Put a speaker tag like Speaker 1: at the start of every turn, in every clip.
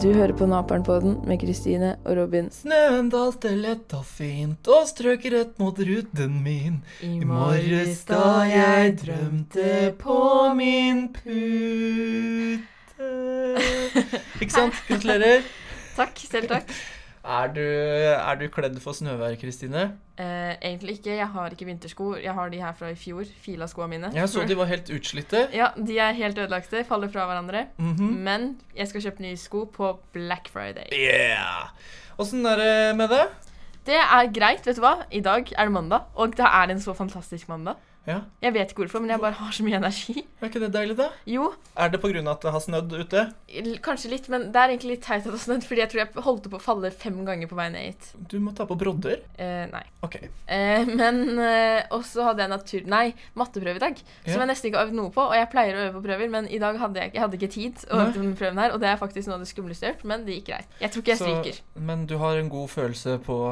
Speaker 1: Du hører på Naperen-podden med Kristine og Robin.
Speaker 2: Snøen dalte lett og fint og strøk rett mot ruten min. I morges da jeg drømte på min pute. Ikke sant? Gratulerer.
Speaker 3: Takk, selv takk.
Speaker 2: Er du, er du kledd for snøvær, Kristine?
Speaker 3: Eh, egentlig ikke. Jeg har ikke vintersko. Jeg har de her fra i fjor. Fila skoene mine.
Speaker 2: Jeg så de var helt utslitte.
Speaker 3: Ja, de er helt ødelagte. Faller fra hverandre.
Speaker 2: Mhm.
Speaker 3: Men jeg skal kjøpe nye sko på Black Friday.
Speaker 2: Yeah! Åssen er det med det?
Speaker 3: Det er greit, vet du hva. I dag er det mandag, og det er en så fantastisk mandag.
Speaker 2: Ja,
Speaker 3: Jeg vet ikke hvorfor, men jeg bare har så mye energi.
Speaker 2: Er ikke det deilig, da?
Speaker 3: Jo,
Speaker 2: Er det pga. at det har snødd ute?
Speaker 3: l- kanskje litt, men det er egentlig litt teit at det har snødd, fordi jeg tror jeg holdt på å falle fem ganger på vei ned hit.
Speaker 2: Du må ta på brodder.
Speaker 3: Eh, nei.
Speaker 2: OK.
Speaker 3: Eh, men eh, også hadde jeg natur... Nei, matteprøve i dag.
Speaker 2: Ja.
Speaker 3: Som jeg nesten ikke har øvd noe på. Og jeg pleier å øve på prøver, men i dag hadde jeg, ikke- jeg hadde ikke tid. å
Speaker 2: Nei.
Speaker 3: øve på denne prøven her, Og det er faktisk noe av det skumleste jeg har gjort, men det gikk greit. Jeg tror ikke jeg
Speaker 2: Så-
Speaker 3: stryker.
Speaker 2: Men du har en god følelse på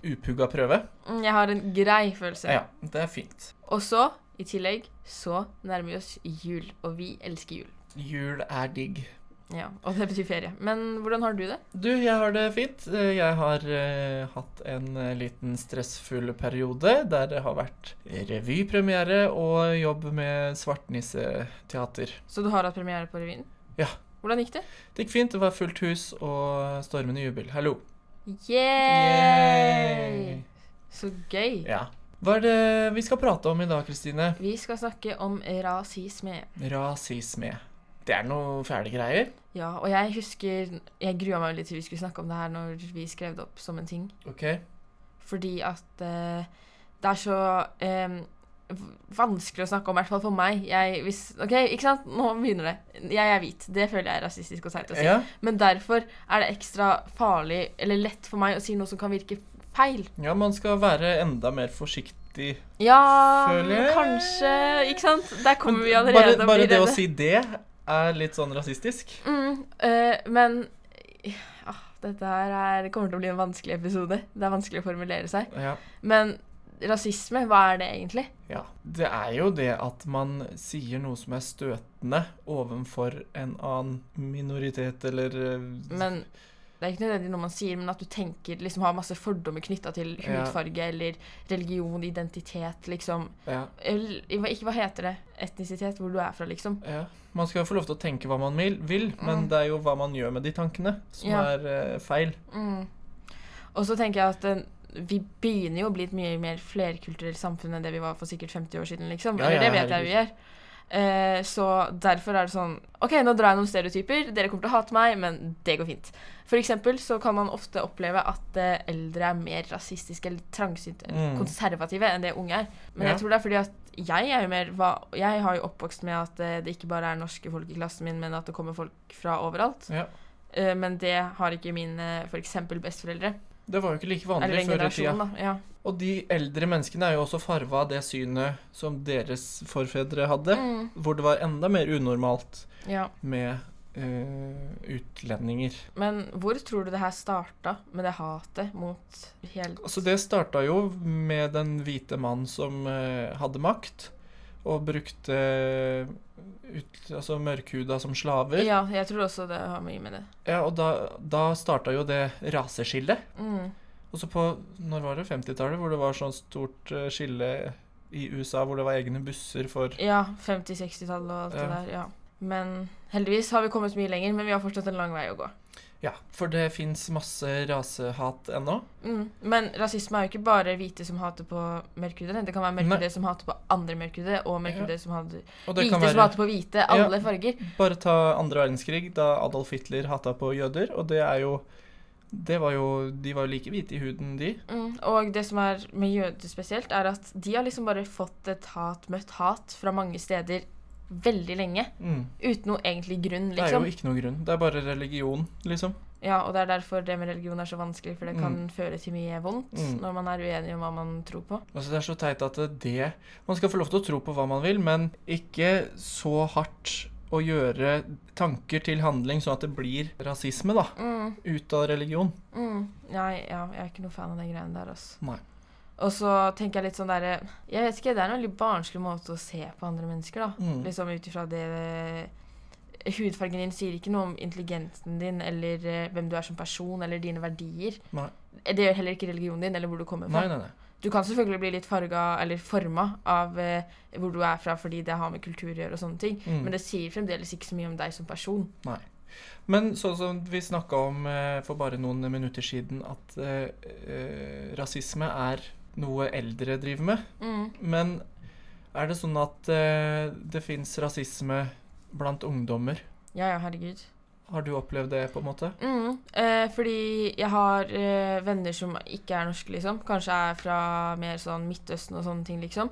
Speaker 2: upugga prøve?
Speaker 3: Mm, Jeg har en grei følelse.
Speaker 2: Ja, det er fint.
Speaker 3: Og så, i tillegg, så nærmer vi oss jul. Og vi elsker jul.
Speaker 2: Jul er digg.
Speaker 3: Ja, Og det betyr ferie. Men hvordan har du det?
Speaker 2: Du, jeg har det fint. Eh, Jeg har eh, hatt en eh, liten stressfull periode der det har vært revypremiere og jobb med svartnisseteater.
Speaker 3: Så du har hatt premiere på revyen?
Speaker 2: Ja.
Speaker 3: Hvordan gikk det?
Speaker 2: Det gikk fint, det var fullt hus og stormende jubel. Hallo.
Speaker 3: Yay! Så gøy.
Speaker 2: Ja. Hva er det vi skal prate om i dag, Kristine?
Speaker 3: Vi skal snakke om rasisme.
Speaker 2: Rasisme. Det er noe fæle greier.
Speaker 3: Ja, og jeg husker Jeg grua meg jo litt til vi skulle snakke om det her når vi skrev det opp som en ting.
Speaker 2: OK.
Speaker 3: Fordi at eh, det er så eh, v- vanskelig å snakke om, i hvert fall for meg. Jeg, hvis, ok, ikke sant? Nå begynner det. Jeg er hvit. Det føler jeg er rasistisk og teit å si.
Speaker 2: Ja,
Speaker 3: Men derfor er det ekstra farlig, eller lett for meg, å si noe som kan virke feil.
Speaker 2: ja, man skal være enda mer forsiktig
Speaker 3: Ja,
Speaker 2: Føler jeg-
Speaker 3: kanskje Ikke sant? Der kommer
Speaker 2: Men
Speaker 3: vi allerede.
Speaker 2: Bare,
Speaker 3: og
Speaker 2: bare
Speaker 3: blir
Speaker 2: det å
Speaker 3: redde.
Speaker 2: si det er litt sånn rasistisk.
Speaker 3: Mm, eh, men ja, dette her er, kommer til å bli en vanskelig episode. Det er vanskelig å formulere seg.
Speaker 2: Ja.
Speaker 3: Men rasisme, hva er det egentlig?
Speaker 2: ja. Det er jo det at man sier noe som er støtende overfor en annen minoritet eller eh,
Speaker 3: Men det er ikke nødvendig noe man sier, men at du tenker liksom har masse fordommer knytta til
Speaker 2: Ja.
Speaker 3: hudfarge eller religion, identitet, liksom.
Speaker 2: ja,
Speaker 3: Eller hva- ikke hva heter det? Etnisitet, hvor du er fra, liksom.
Speaker 2: ja. Man skal jo få lov til å tenke hva man vil, vil men
Speaker 3: Mm.
Speaker 2: det er jo hva man gjør med de tankene, som
Speaker 3: Ja.
Speaker 2: er eh, feil.
Speaker 3: Mm. Og så tenker jeg at eh, vi begynner jo å bli et mye mer flerkulturelt samfunn enn det vi var for sikkert 50 år siden, liksom.
Speaker 2: Ja,
Speaker 3: Eller
Speaker 2: ja,
Speaker 3: det vet jeg vi gjør. Eh, så derfor er det sånn OK, nå drar jeg noen stereotyper. Dere kommer til å hate meg, men det går fint. For eksempel så kan man ofte oppleve at eh, eldre er mer rasistiske eller trangsynte eller
Speaker 2: Mm.
Speaker 3: konservative enn det unge er. Men
Speaker 2: Ja.
Speaker 3: jeg tror det er fordi at jeg er jo mer hva, Jeg har jo oppvokst med at eh, det ikke bare er norske folk i klassen min, men at det kommer folk fra overalt.
Speaker 2: Ja.
Speaker 3: Eh, men det har ikke mine f.eks. besteforeldre.
Speaker 2: Det var jo ikke like
Speaker 3: Eller
Speaker 2: vanlig
Speaker 3: den
Speaker 2: før i tida.
Speaker 3: generasjonen, da. Ja.
Speaker 2: Og de eldre menneskene er jo også farva av det synet som deres forfedre hadde,
Speaker 3: Mm,
Speaker 2: hvor det var enda mer unormalt
Speaker 3: ja.
Speaker 2: med eh, utlendinger.
Speaker 3: Men hvor tror du det her starta, med det hatet mot hele
Speaker 2: Altså Det starta jo med den hvite mannen som eh, hadde makt, og brukte eh, ut, altså mørkhuda som slaver. Ja,
Speaker 3: Ja, jeg tror også det har mye med det.
Speaker 2: Og da, da starta jo det raseskillet.
Speaker 3: Mm.
Speaker 2: Og så på når var det 50-tallet, hvor det var sånn stort eh, skille i USA, hvor det var egne busser for
Speaker 3: Ja, 50-60-tallet og alt det
Speaker 2: Ja.
Speaker 3: der. ja. Men heldigvis har vi kommet mye lenger, men vi har fortsatt en lang vei å gå.
Speaker 2: Ja, for det fins masse rasehat ennå.
Speaker 3: Mm. Men rasisme er jo ikke bare hvite som hater på mørkhudede. Det kan være mørkhudede som hater på andre mørkhudede, og mørkhudede som hater
Speaker 2: Og det
Speaker 3: hvite
Speaker 2: kan
Speaker 3: som
Speaker 2: være
Speaker 3: hater på hvite. Alle farger.
Speaker 2: Bare ta andre verdenskrig, da Adolf Hitler hata på jøder, og det er jo det var jo, De var jo like hvite i huden, de.
Speaker 3: Mm, og det som er med jøder spesielt, er at de har liksom bare fått et hat, møtt hat fra mange steder veldig lenge.
Speaker 2: Mm.
Speaker 3: Uten noe egentlig grunn,
Speaker 2: Det er jo
Speaker 3: liksom.
Speaker 2: ikke noe grunn. Det er bare religion, liksom.
Speaker 3: Ja, og det er derfor det med religion er så vanskelig, for det kan
Speaker 2: Mm.
Speaker 3: føre til mye vondt
Speaker 2: Mm.
Speaker 3: når man er uenig om hva man tror på.
Speaker 2: Altså, det er så teit at det Man skal få lov til å tro på hva man vil, men ikke så hardt å gjøre tanker til handling sånn at det blir rasisme, da.
Speaker 3: Mm,
Speaker 2: Ut av religion.
Speaker 3: mm. Nei, ja, jeg er ikke noe fan av den greien der, altså.
Speaker 2: Nei.
Speaker 3: Og så tenker jeg litt sånn derre Jeg vet ikke, det er en veldig barnslig måte å se på andre mennesker, da.
Speaker 2: Mm.
Speaker 3: Liksom ut ifra det Hudfargen din sier ikke noe om intelligensen din eller eh, hvem du er som person eller dine verdier. Eh,
Speaker 2: Nei.
Speaker 3: Det gjør heller ikke religionen din eller hvor du kommer fra.
Speaker 2: Nei, nei, nei.
Speaker 3: Du kan selvfølgelig bli litt farga eller forma av eh, hvor du er fra fordi det har med kultur å gjøre og sånne ting,
Speaker 2: Mm.
Speaker 3: men det sier fremdeles ikke så mye om deg som person.
Speaker 2: Nei. Men sånn som vi snakka om eh, for bare noen minutter siden, at eh, eh, rasisme er noe eldre driver med. Men er det sånn at eh, det fins rasisme blant ungdommer?
Speaker 3: Ja, ja, herregud.
Speaker 2: Har du opplevd det, på en måte?
Speaker 3: Mm. Eh, fordi jeg har eh, venner som ikke er norske, liksom. Kanskje er fra mer sånn Midtøsten og sånne ting, liksom.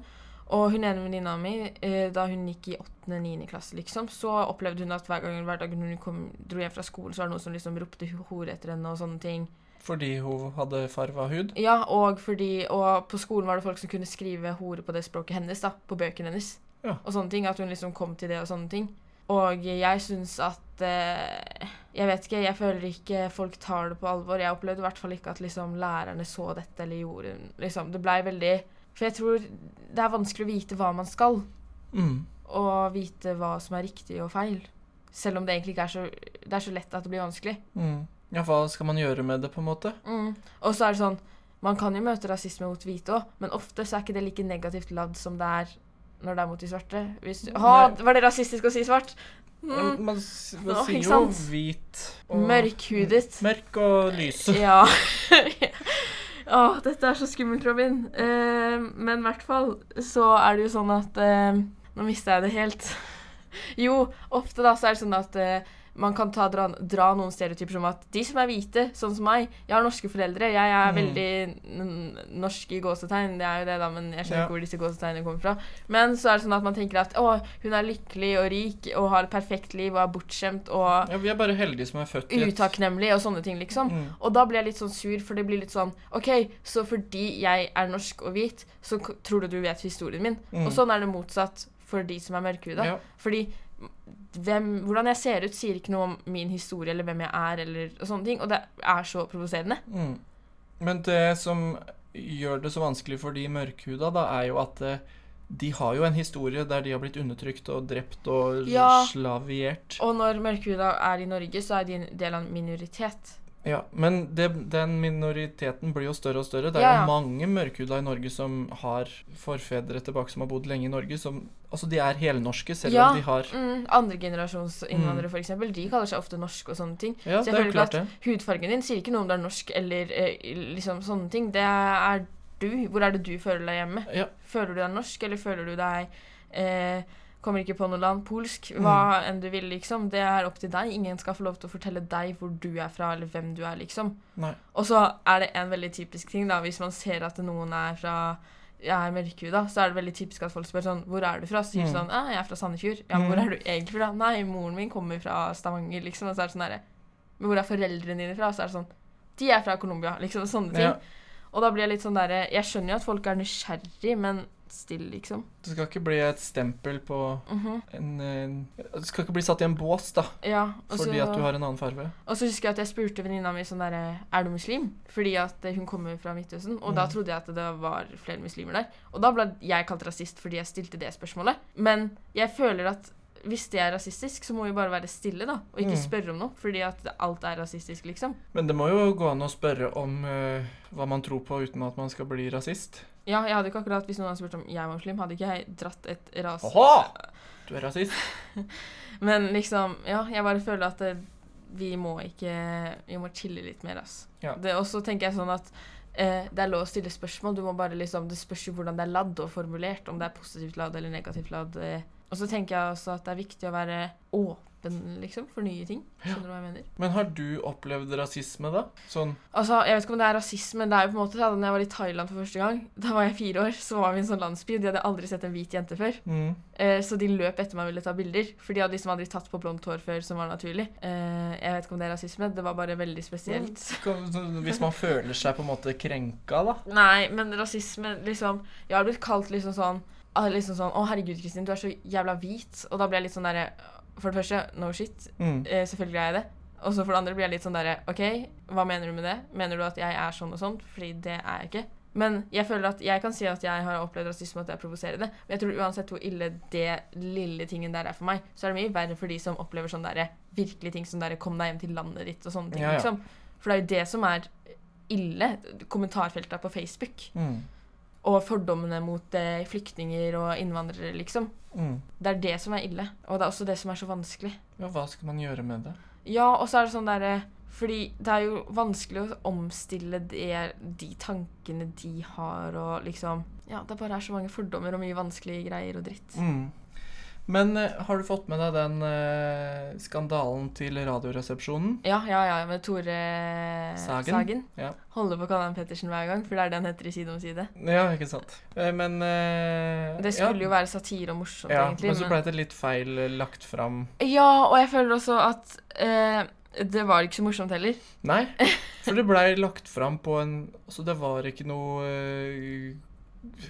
Speaker 3: Og hun ene venninna mi, eh, da hun gikk i 8.-9. klasse, liksom, så opplevde hun at hver gang hver dag hun kom, dro hjem fra skolen, så var det noen som liksom ropte ho- hore etter henne og sånne ting.
Speaker 2: Fordi hun hadde farva hud?
Speaker 3: Ja, og fordi Og på skolen var det folk som kunne skrive hore på det språket hennes, da. På bøkene hennes.
Speaker 2: Ja.
Speaker 3: Og sånne ting. At hun liksom kom til det og sånne ting. Og jeg syns at eh, Jeg vet ikke, jeg føler ikke folk tar det på alvor. Jeg opplevde i hvert fall ikke at liksom lærerne så dette eller gjorde liksom. Det blei veldig For jeg tror det er vanskelig å vite hva man skal,
Speaker 2: Mm.
Speaker 3: og vite hva som er riktig og feil. Selv om det egentlig ikke er så Det er så lett at det blir vanskelig.
Speaker 2: Mm. Ja, hva skal man gjøre med det, på en måte?
Speaker 3: Mm. Og så er det sånn Man kan jo møte rasisme mot hvite òg, men ofte så er ikke det like negativt ladd som det er når det er mot de svarte. Hvis du, Å,
Speaker 2: Nei.
Speaker 3: var det rasistisk å si svart? Mm.
Speaker 2: Man, s- man
Speaker 3: Åh, ikke
Speaker 2: sier jo
Speaker 3: sant?
Speaker 2: hvit
Speaker 3: Mørkhudet.
Speaker 2: Mørk og lyse.
Speaker 3: Ja. Å, dette er så skummelt, Robin. Eh, men i hvert fall så er det jo sånn at eh, Nå mista jeg det helt. Jo, ofte da så er det sånn at eh, man kan ta, dra, dra noen stereotyper som at de som er hvite, sånn som meg Jeg har norske foreldre. Jeg er
Speaker 2: Mm.
Speaker 3: veldig n- norsk i gåsetegn. Det er jo det, da, men jeg skjønner
Speaker 2: Ja.
Speaker 3: ikke hvor disse gåsetegnene kommer fra. Men så er det sånn at man tenker at å, hun er lykkelig og rik og har et perfekt liv og er bortskjemt og
Speaker 2: Ja, vi er bare heldige som er født i et-
Speaker 3: utakknemlig og sånne ting, liksom.
Speaker 2: Mm.
Speaker 3: Og da blir jeg litt sånn sur, for det blir litt sånn OK, så fordi jeg er norsk og hvit, så k- tror du du vet historien min.
Speaker 2: Mm.
Speaker 3: Og sånn er det motsatt for de som er mørkhuda.
Speaker 2: Ja.
Speaker 3: Fordi hvem, hvordan jeg ser ut, sier ikke noe om min historie eller hvem jeg er, eller og sånne ting. Og det er så provoserende.
Speaker 2: Mm. Men det som gjør det så vanskelig for de mørkhuda, da, er jo at eh, de har jo en historie der de har blitt undertrykt og drept og
Speaker 3: Ja.
Speaker 2: slaviert.
Speaker 3: Og når mørkhuda er i Norge, så er de en del av en minoritet.
Speaker 2: Ja, men det, den minoriteten blir jo større og større. Det er
Speaker 3: Ja, ja.
Speaker 2: jo mange mørkhuda i Norge som har forfedre tilbake som har bodd lenge i Norge. Som, altså, de er helnorske, selv
Speaker 3: Ja.
Speaker 2: om de har
Speaker 3: Mm, Andregenerasjons
Speaker 2: Mm.
Speaker 3: innvandrere, for eksempel, de kaller seg ofte norske og sånne ting.
Speaker 2: Ja,
Speaker 3: Så jeg
Speaker 2: det er jo
Speaker 3: føler ikke
Speaker 2: klart det.
Speaker 3: at hudfargen din sier ikke noe om du er norsk eller eh, liksom sånne ting. Det er du. Hvor er det du føler deg hjemme?
Speaker 2: Ja.
Speaker 3: Føler du deg norsk, eller føler du deg eh, Kommer ikke på noe land. Polsk.
Speaker 2: Mm.
Speaker 3: Hva enn du vil, liksom. Det er opp til deg. Ingen skal få lov til å fortelle deg hvor du er fra, eller hvem du er, liksom.
Speaker 2: Nei.
Speaker 3: Og så er det en veldig typisk ting, da. Hvis man ser at noen er fra er mørkhuda, så er det veldig typisk at folk spør sånn Hvor er du fra? Så sier de
Speaker 2: Mm.
Speaker 3: sånn «Eh, Jeg er fra Sandefjord. Ja, hvor
Speaker 2: Mm.
Speaker 3: er du egentlig fra? Nei, moren min kommer fra Stavanger, liksom. Og så er det sånn derre Men hvor er foreldrene dine fra? Så er det sånn De er fra Colombia, liksom. Sånne ting.
Speaker 2: Ja.
Speaker 3: Og da blir jeg litt sånn derre Jeg skjønner jo at folk er nysgjerrig, men still, liksom.
Speaker 2: Det skal ikke bli et stempel på
Speaker 3: Mhm.
Speaker 2: en, eh, Det skal ikke bli satt i en bås, da,
Speaker 3: Ja. og så-
Speaker 2: fordi at du har en annen farge.
Speaker 3: Og så husker jeg at jeg spurte venninna mi sånn derre Er du muslim? Fordi at eh, hun kommer fra Midtøsten. Og da
Speaker 2: Mm.
Speaker 3: trodde jeg at det var flere muslimer der. Og da ble jeg kalt rasist fordi jeg stilte det spørsmålet. Men jeg føler at hvis det er rasistisk, så må vi bare være stille, da. Og ikke
Speaker 2: Mm.
Speaker 3: spørre om noe. Fordi at det- alt er rasistisk, liksom.
Speaker 2: Men det må jo gå an å spørre om eh, hva man tror på uten at man skal bli rasist.
Speaker 3: Ja, jeg hadde ikke akkurat Hvis noen hadde spurt om jeg var muslim, hadde ikke jeg dratt et ras.
Speaker 2: Du er rasist.
Speaker 3: Men liksom Ja, jeg bare føler at det, vi må ikke Vi må chille litt mer, ass.
Speaker 2: Ja.
Speaker 3: Det- Og så tenker jeg sånn at eh, det er lov å stille spørsmål. Du må bare liksom Det spørs jo hvordan det er ladd og formulert, om det er positivt ladd eller negativt ladd. eh. Og så tenker jeg også at det er viktig å være åpen, liksom, for nye ting. Skjønner du hva jeg mener?
Speaker 2: Men har du opplevd rasisme, da? Sånn
Speaker 3: Altså, Jeg vet ikke om det er rasisme, men det er jo på en måte da når jeg var i Thailand for første gang. Da var jeg fire år, så var vi i en sånn landsby, og de hadde aldri sett en hvit jente før.
Speaker 2: mm,
Speaker 3: Eh, Så de løp etter meg og ville ta bilder. For de hadde liksom aldri tatt på blondt hår før, som var naturlig. Eh, Jeg vet ikke om det er rasisme, det var bare veldig spesielt.
Speaker 2: kan- så Hvis man føler seg på en måte krenka, da.
Speaker 3: Nei, men rasisme, liksom Jeg har blitt kalt liksom sånn ah, liksom sånn, Å, herregud, Kristin, du er så jævla hvit. Og da ble jeg litt sånn derre For det første, no shit.
Speaker 2: Mm.
Speaker 3: Eh, Selvfølgelig er jeg det. Og så for det andre blir jeg litt sånn derre OK, hva mener du med det? Mener du at jeg er sånn og sånn? Fordi det er jeg ikke. Men jeg føler at jeg kan si at jeg har opplevd rasisme, at det er provoserende. Men jeg tror uansett hvor ille det lille tingen der er for meg, så er det mye verre for de som opplever sånne der, virkelige ting som derre 'kom deg hjem til landet ditt' og sånne ting.
Speaker 2: Ja, ja.
Speaker 3: liksom. For det er jo det som er ille. Kommentarfeltene på Facebook.
Speaker 2: Mm.
Speaker 3: Og fordommene mot eh, flyktninger og innvandrere, liksom.
Speaker 2: Mm.
Speaker 3: Det er det som er ille. Og det er også det som er så vanskelig.
Speaker 2: Ja, hva skal man gjøre med det?
Speaker 3: Ja, og så er det sånn derre Fordi det er jo vanskelig å omstille det, de tankene de har, og liksom Ja, det bare er så mange fordommer og mye vanskelige greier og dritt.
Speaker 2: Mm. Men eh, har du fått med deg den eh, skandalen til Radioresepsjonen?
Speaker 3: Ja, ja, ja, med Tore
Speaker 2: Sagen? Ja.
Speaker 3: Holder på å kalle han Pettersen hver gang, for det er det han heter i Side om side.
Speaker 2: ja, ikke sant. Eh, Men eh,
Speaker 3: Det skulle jo være satire og morsomt,
Speaker 2: ja,
Speaker 3: egentlig.
Speaker 2: Men så ble det litt feil eh, lagt fram.
Speaker 3: Ja, og jeg føler også at eh, det var ikke så morsomt heller.
Speaker 2: Nei, for det blei lagt fram på en Altså, det var ikke noe eh,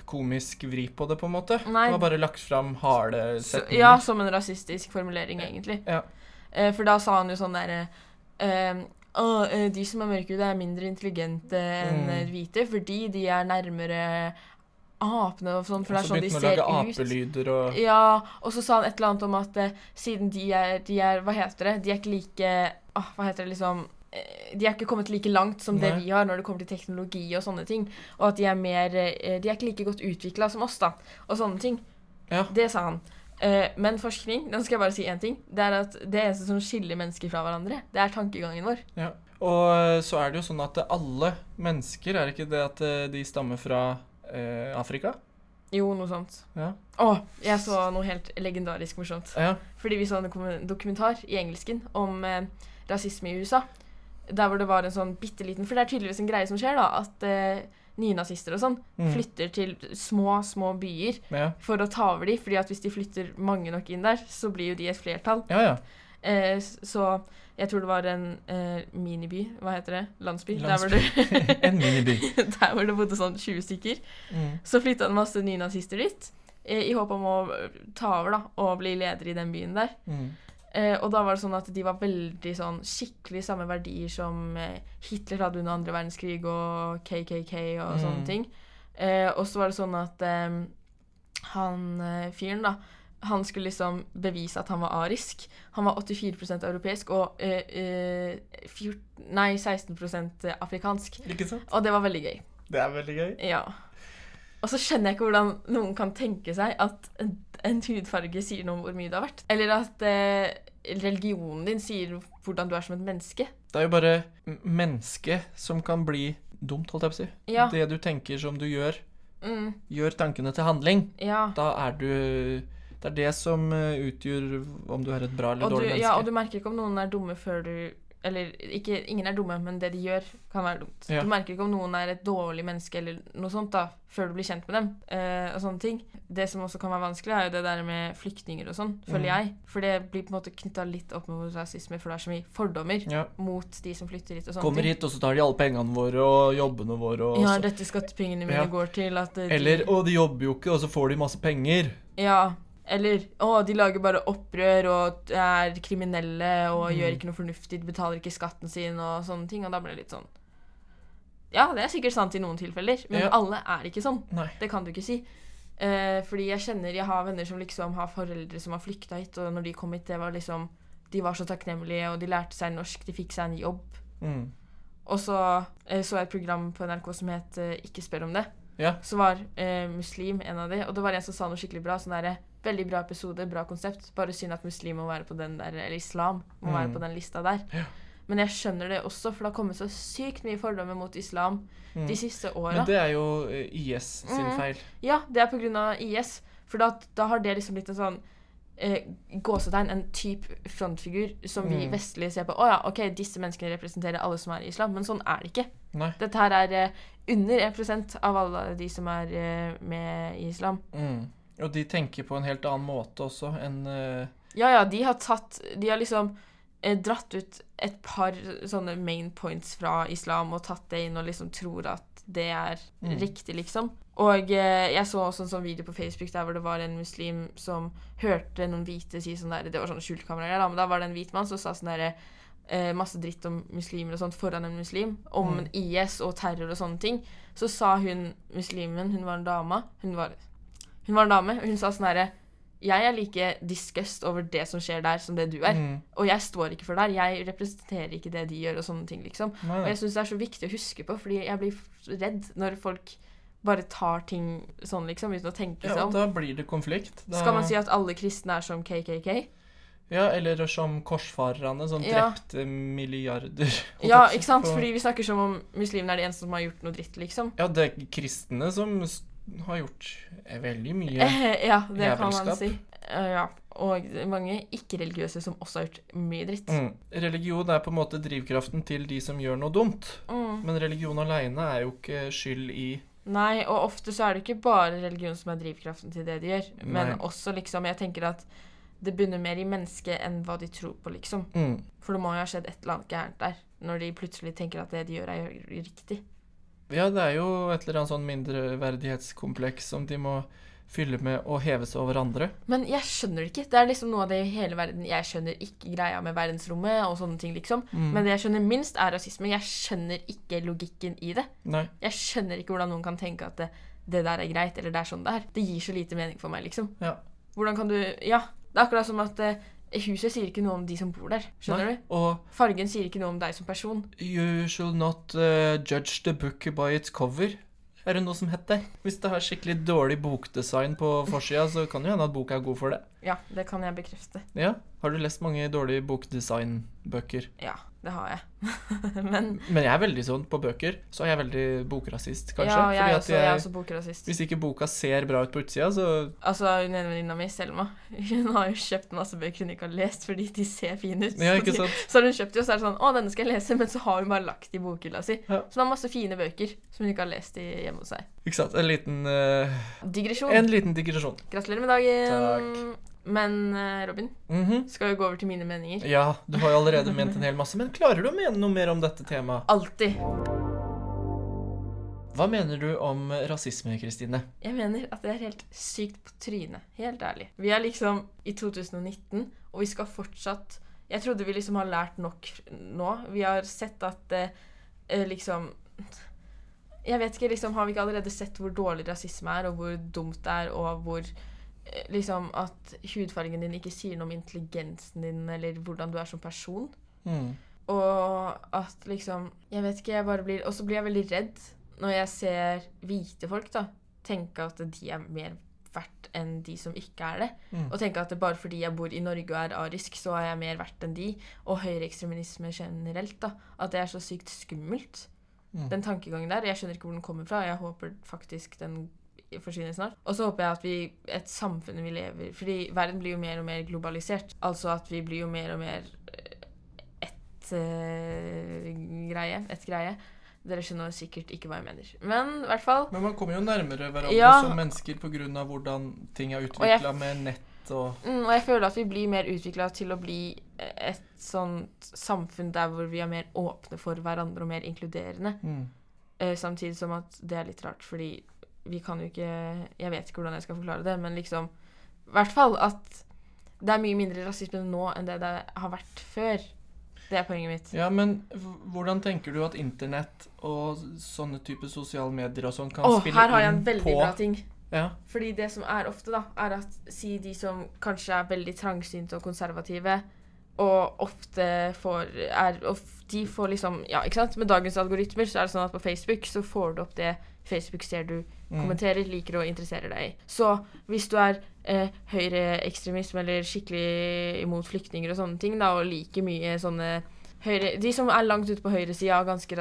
Speaker 2: komisk vri på det, på en måte.
Speaker 3: Nei.
Speaker 2: Det var bare lagt fram harde
Speaker 3: Så,
Speaker 2: setninger.
Speaker 3: ja, som en rasistisk formulering, egentlig.
Speaker 2: Ja.
Speaker 3: Eh, for da sa han jo sånn derre eh, «Å, eh, De som er mørkhudet, er mindre intelligente enn
Speaker 2: Mm.
Speaker 3: eh, hvite fordi de er nærmere apene og sånn, for det
Speaker 2: Og
Speaker 3: er
Speaker 2: så
Speaker 3: sånn de
Speaker 2: begynte
Speaker 3: ser
Speaker 2: han å lage
Speaker 3: ut.
Speaker 2: apelyder og
Speaker 3: Ja, og så sa han et eller annet om at eh, siden de er, de er Hva heter det? De er ikke like åh, Hva heter det liksom eh, De er ikke kommet like langt som det
Speaker 2: Nei.
Speaker 3: vi har når det kommer til teknologi og sånne ting. Og at de er mer eh, De er ikke like godt utvikla som oss, da. Og sånne ting.
Speaker 2: Ja.
Speaker 3: Det sa han. Eh, Men forskning, den skal jeg bare si én ting. Det er at det eneste som skiller mennesker fra hverandre, det er tankegangen vår.
Speaker 2: Ja. Og eh, så er det jo sånn at eh, alle mennesker, er det ikke det at eh, de stammer fra eh, Afrika?
Speaker 3: Jo, noe sånt.
Speaker 2: Ja.
Speaker 3: Å, jeg så noe helt legendarisk morsomt.
Speaker 2: ja.
Speaker 3: Fordi vi så en dokum- dokumentar i engelsken om eh, rasisme i USA. Der hvor det var en sånn bitte liten For det er tydeligvis en greie som skjer, da. At eh, nynazister og sånn
Speaker 2: Mm.
Speaker 3: flytter til små, små byer
Speaker 2: Ja,
Speaker 3: for å ta over de. fordi at hvis de flytter mange nok inn der, så blir jo de et flertall.
Speaker 2: ja. ja.
Speaker 3: Eh, s- så jeg tror det var en eh, miniby. Hva heter det? Landsby. Der, hvor det,
Speaker 2: En miniby.
Speaker 3: der hvor det bodde sånn 20 stykker.
Speaker 2: Mm.
Speaker 3: Så flytta en masse nynazister dit eh, i håp om å eh, ta over da, og bli leder i den byen der.
Speaker 2: Mm.
Speaker 3: Eh, og da var det sånn at de var veldig sånn skikkelig samme verdier som eh, Hitler hadde under andre verdenskrig, og KKK og
Speaker 2: Mm.
Speaker 3: sånne ting. Eh, og så var det sånn at eh, han eh, fyren, da han skulle liksom bevise at han var arisk. Han var 84 europeisk og eh, eh, 14, nei, 16 afrikansk.
Speaker 2: Ikke sant?
Speaker 3: Og det var veldig gøy.
Speaker 2: Det er veldig gøy.
Speaker 3: Ja. Og så skjønner jeg ikke hvordan noen kan tenke seg at en, en hudfarge sier noe om hvor mye du har vært. Eller at eh, religionen din sier hvordan du er som et menneske.
Speaker 2: Det er jo bare m- mennesket som kan bli dumt, holdt jeg på å si.
Speaker 3: Ja.
Speaker 2: Det du tenker som du gjør,
Speaker 3: Mm,
Speaker 2: gjør tankene til handling.
Speaker 3: ja.
Speaker 2: Da er du Det er det som eh, utgjør om du er et bra eller
Speaker 3: Og du,
Speaker 2: dårlig menneske.
Speaker 3: ja, og du merker ikke om noen er dumme før du Eller ikke, ingen er dumme, men det de gjør, kan være dumt.
Speaker 2: Ja.
Speaker 3: Du merker ikke om noen er et dårlig menneske eller noe sånt da, før du blir kjent med dem. eh, og sånne ting. Det som også kan være vanskelig, er jo det der med flyktninger og sånn, føler
Speaker 2: Mm.
Speaker 3: jeg. For det blir på en måte knytta litt opp mot rasisme, for det er så mye fordommer
Speaker 2: Ja.
Speaker 3: mot de som flytter hit og sånne
Speaker 2: Kommer
Speaker 3: ting.
Speaker 2: hit, og så tar de alle pengene våre og jobbene våre. Og
Speaker 3: Ja,
Speaker 2: så-
Speaker 3: dette skattepengene mine
Speaker 2: Ja.
Speaker 3: går til at eh, de,
Speaker 2: Eller 'Å, de jobber jo ikke, og så får de masse penger'.
Speaker 3: Ja. Eller å, de lager bare opprør og er kriminelle og
Speaker 2: Mm.
Speaker 3: gjør ikke noe fornuftig, de betaler ikke skatten sin og sånne ting. Og da blir det litt sånn Ja, det er sikkert sant i noen tilfeller, men
Speaker 2: Ja.
Speaker 3: alle er ikke sånn.
Speaker 2: Nei.
Speaker 3: Det kan du ikke si. Eh, fordi jeg kjenner Jeg har venner som liksom har foreldre som har flykta hit, og når de kom hit, det var liksom De var så takknemlige, og de lærte seg norsk, de fikk seg en jobb.
Speaker 2: Mm.
Speaker 3: Og så eh, så jeg et program på NRK som het eh, Ikke spør om det
Speaker 2: Ja.
Speaker 3: så var eh, muslim en av de, og det var en som sa noe skikkelig bra. sånn derre, Veldig bra episode, bra konsept. Bare synd at muslim må være på den der, eller islam må være
Speaker 2: Mm.
Speaker 3: på den lista der.
Speaker 2: Ja.
Speaker 3: Men jeg skjønner det også, for det har kommet så sykt mye fordommer mot islam
Speaker 2: Mm.
Speaker 3: de siste åra.
Speaker 2: Men det er jo eh, IS sin
Speaker 3: Mm.
Speaker 2: feil.
Speaker 3: Ja, det er pga. IS. For da, da har det liksom blitt en sånn eh, gåsetegn, en type frontfigur, som vi
Speaker 2: Mm.
Speaker 3: vestlige ser på. Å ja, OK, disse menneskene representerer alle som er i islam, men sånn er det ikke.
Speaker 2: Nei.
Speaker 3: Dette her er eh, under 1 av alle de som er eh, med i islam.
Speaker 2: Mm. Og de tenker på en helt annen måte også enn eh,
Speaker 3: Ja, ja, de har tatt De har liksom eh, dratt ut et par sånne main points fra islam og tatt det inn og liksom tror at det er
Speaker 2: Mm.
Speaker 3: riktig, liksom. Og eh, jeg så også en sånn video på Facebook der hvor det var en muslim som hørte noen hvite si sånn der Det var sånn skjultkamera, da, men da var det en hvit mann som sa sånn derre eh, masse dritt om muslimer og sånt foran en muslim, om
Speaker 2: Mm.
Speaker 3: IS og terror og sånne ting, så sa hun muslimen Hun var en dame. Hun var, hun var en dame, og hun sa sånn herre Jeg er like disgust over det som skjer der, som det du er.
Speaker 2: Mm.
Speaker 3: Og jeg står ikke for der. Jeg representerer ikke det de gjør, og sånne ting, liksom.
Speaker 2: Nei,
Speaker 3: Og
Speaker 2: nei.
Speaker 3: jeg syns det er så viktig å huske på, fordi jeg blir f- redd når folk bare tar ting sånn, liksom, uten å tenke
Speaker 2: Ja,
Speaker 3: seg
Speaker 2: og
Speaker 3: om.
Speaker 2: da blir det konflikt. Da,
Speaker 3: Skal man si at alle kristne er som KKK?
Speaker 2: Ja, eller som korsfarerne, som
Speaker 3: Ja.
Speaker 2: drepte milliarder. holdt
Speaker 3: Ja,
Speaker 2: jeg på å si,
Speaker 3: ikke sant?
Speaker 2: på-
Speaker 3: Fordi vi snakker som om muslimene er de eneste som har gjort noe dritt, liksom.
Speaker 2: Ja, det er kristne som s- har gjort eh, veldig mye.
Speaker 3: Ja, det kan man
Speaker 2: Jævelskap.
Speaker 3: si. Eh, Ja. Og mange ikke-religiøse som også har gjort mye dritt.
Speaker 2: Mm. Religion er på en måte drivkraften til de som gjør noe dumt.
Speaker 3: Mm.
Speaker 2: Men religion aleine er jo ikke skyld i
Speaker 3: Nei, og ofte så er det ikke bare religion som er drivkraften til det de gjør, men
Speaker 2: Nei.
Speaker 3: også liksom Jeg tenker at det begynner mer i mennesket enn hva de tror på, liksom.
Speaker 2: mm.
Speaker 3: For det må jo ha skjedd et eller annet gærent der, når de plutselig tenker at det de gjør, er jo riktig.
Speaker 2: Ja, det er jo et eller annet sånn mindreverdighetskompleks som de må fylle med å heve seg over andre.
Speaker 3: Men jeg skjønner det ikke. Det er liksom noe av det i hele verden Jeg skjønner ikke greia med verdensrommet og sånne ting, liksom.
Speaker 2: Mm.
Speaker 3: Men det jeg skjønner minst, er rasisme. Jeg skjønner ikke logikken i det.
Speaker 2: Nei.
Speaker 3: Jeg skjønner ikke hvordan noen kan tenke at det, det der er greit, eller det er sånn det er. Det gir så lite mening for meg, liksom.
Speaker 2: Ja.
Speaker 3: Hvordan kan du Ja, det er akkurat som at eh, huset sier ikke noe om de som bor der. Skjønner
Speaker 2: Nei. Og
Speaker 3: du? Fargen sier ikke noe om deg som person.
Speaker 2: you shall not eh, judge the book by its cover. Er det noe som heter? Hvis det har skikkelig dårlig bokdesign på forsida, så kan det jo hende at boka er god for det.
Speaker 3: Ja, det kan jeg bekrefte.
Speaker 2: Ja. Har du lest mange dårlige bokdesignbøker?
Speaker 3: Ja, det har jeg. Men
Speaker 2: Men jeg er veldig sånn på bøker, så er jeg veldig bokrasist, kanskje.
Speaker 3: Ja, og jeg,
Speaker 2: fordi
Speaker 3: er
Speaker 2: at
Speaker 3: også, jeg er også bokrasist.
Speaker 2: Hvis ikke boka ser bra ut på utsida, så
Speaker 3: Altså, hun ene venninna mi, Selma, hun har jo kjøpt masse bøker hun ikke har lest fordi de ser fine ut.
Speaker 2: Ja,
Speaker 3: Så
Speaker 2: ikke
Speaker 3: de-
Speaker 2: sant?
Speaker 3: Så har hun kjøpt de, og så er det sånn Å, denne skal jeg lese, men så har hun bare lagt de i bokhylla si.
Speaker 2: Ja.
Speaker 3: Så hun har masse fine bøker som hun ikke har lest i hjemme hos seg.
Speaker 2: Ikke sant? En liten, eh,
Speaker 3: Digresjon.
Speaker 2: en liten digresjon.
Speaker 3: Gratulerer med dagen. Men eh, Robin,
Speaker 2: Mhm.
Speaker 3: skal jo gå over til mine meninger.
Speaker 2: Ja, du har jo allerede ment en hel masse, men klarer du å mene noe mer om dette temaet?
Speaker 3: Alltid.
Speaker 2: Hva mener du om rasisme, Kristine?
Speaker 3: Jeg mener at det er helt sykt på trynet. Helt ærlig. Vi er liksom i 2019, og vi skal fortsatt Jeg trodde vi liksom har lært nok nå. Vi har sett at eh, eh, liksom Jeg vet ikke, liksom Har vi ikke allerede sett hvor dårlig rasisme er, og hvor dumt det er, og hvor eh, Liksom at hudfargen din ikke sier noe om intelligensen din, eller hvordan du er som person.
Speaker 2: Mm.
Speaker 3: Og at liksom Jeg vet ikke, jeg bare blir Og så blir jeg veldig redd når jeg ser hvite folk, da. Tenke at de er mer verdt enn de som ikke er det.
Speaker 2: Mm.
Speaker 3: Og tenke at det bare fordi jeg bor i Norge og er arisk, så er jeg mer verdt enn de. Og høyreekstremisme generelt, da. At det er så sykt skummelt.
Speaker 2: Mm.
Speaker 3: Den tankegangen der. Jeg skjønner ikke hvor den kommer fra. Jeg håper faktisk den forsvinner snart. Og så håper jeg at vi, et samfunn vi lever Fordi verden blir jo mer og mer globalisert. Altså at vi blir jo mer og mer ett eh, greie. Et greie. Dere skjønner sikkert ikke hva jeg mener. Men i hvert fall
Speaker 2: Men man kommer jo nærmere hverandre
Speaker 3: Ja.
Speaker 2: som mennesker pga. hvordan ting er
Speaker 3: Og jeg-
Speaker 2: utvikla med nett og
Speaker 3: mm, Og jeg føler at vi blir mer utvikla til å bli eh, et sånt samfunn der hvor vi er mer åpne for hverandre og mer inkluderende.
Speaker 2: mm.
Speaker 3: Eh, samtidig som at det er litt rart, fordi vi kan jo ikke Jeg vet ikke hvordan jeg skal forklare det, men liksom I hvert fall at det er mye mindre rasisme nå enn det det har vært før. Det er poenget mitt.
Speaker 2: Ja, men h- hvordan tenker du at internett og sånne type sosiale medier og sånn kan
Speaker 3: Å,
Speaker 2: spille
Speaker 3: her har jeg en
Speaker 2: inn
Speaker 3: veldig
Speaker 2: på
Speaker 3: bra ting.
Speaker 2: Ja.
Speaker 3: Fordi det som er ofte, da, er at si de som kanskje er veldig trangsynte og konservative, og ofte får er, og f- De får liksom Ja, ikke sant? Med dagens algoritmer så er det sånn at på Facebook så får du opp det Facebook ser du
Speaker 2: Hmm. Mm.
Speaker 3: kommenterer, liker og interesserer deg i. Så hvis du er eh, høyreekstremisme eller skikkelig imot flyktninger og sånne ting, da, og liker mye sånne høyre... De som er langt ute på høyresida og ganske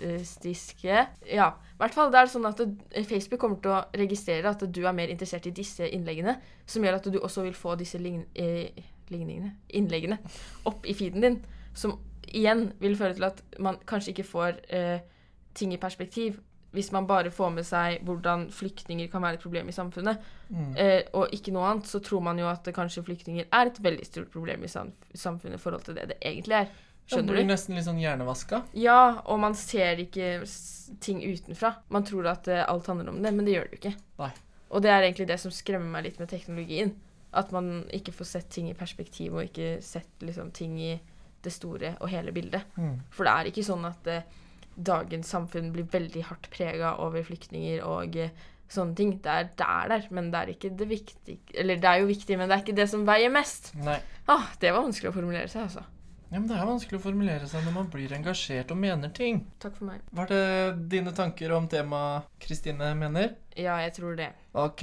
Speaker 3: rasistiske Ja, i hvert fall. Det er sånn at det, Facebook kommer til å registrere at du er mer interessert i disse innleggene, som gjør at du også vil få disse lign, eh, ligningene innleggene opp i feeden din, som igjen vil føre til at man kanskje ikke får eh, ting i perspektiv. Hvis man bare får med seg hvordan flyktninger kan være et problem i samfunnet, eh, og ikke noe annet, så tror man jo at det kanskje flyktninger er et veldig stort problem i sam samfunnet i forhold til det det egentlig er.
Speaker 2: Jeg
Speaker 3: Skjønner
Speaker 2: blir
Speaker 3: du?
Speaker 2: nesten litt sånn hjernevaska.
Speaker 3: Ja, og man ser ikke s- ting utenfra. Man tror at eh, alt handler om det, men det gjør det jo ikke.
Speaker 2: Nei.
Speaker 3: Og det er egentlig det som skremmer meg litt med teknologien. At man ikke får sett ting i perspektiv, og ikke sett liksom, ting i det store og hele bildet.
Speaker 2: Mm.
Speaker 3: For det er ikke sånn at eh, dagens samfunn blir veldig hardt prega over flyktninger og eh, sånne ting. Det er, det er der, men det er ikke det viktige Eller det er jo viktig, men det er ikke det som veier mest.
Speaker 2: Nei.
Speaker 3: Ah, det var vanskelig å formulere seg, altså.
Speaker 2: Ja, men det er vanskelig å formulere seg når man blir engasjert og mener ting.
Speaker 3: Takk for meg.
Speaker 2: Var det dine tanker om temaet Kristine mener?
Speaker 3: Ja, jeg tror det.
Speaker 2: Ok.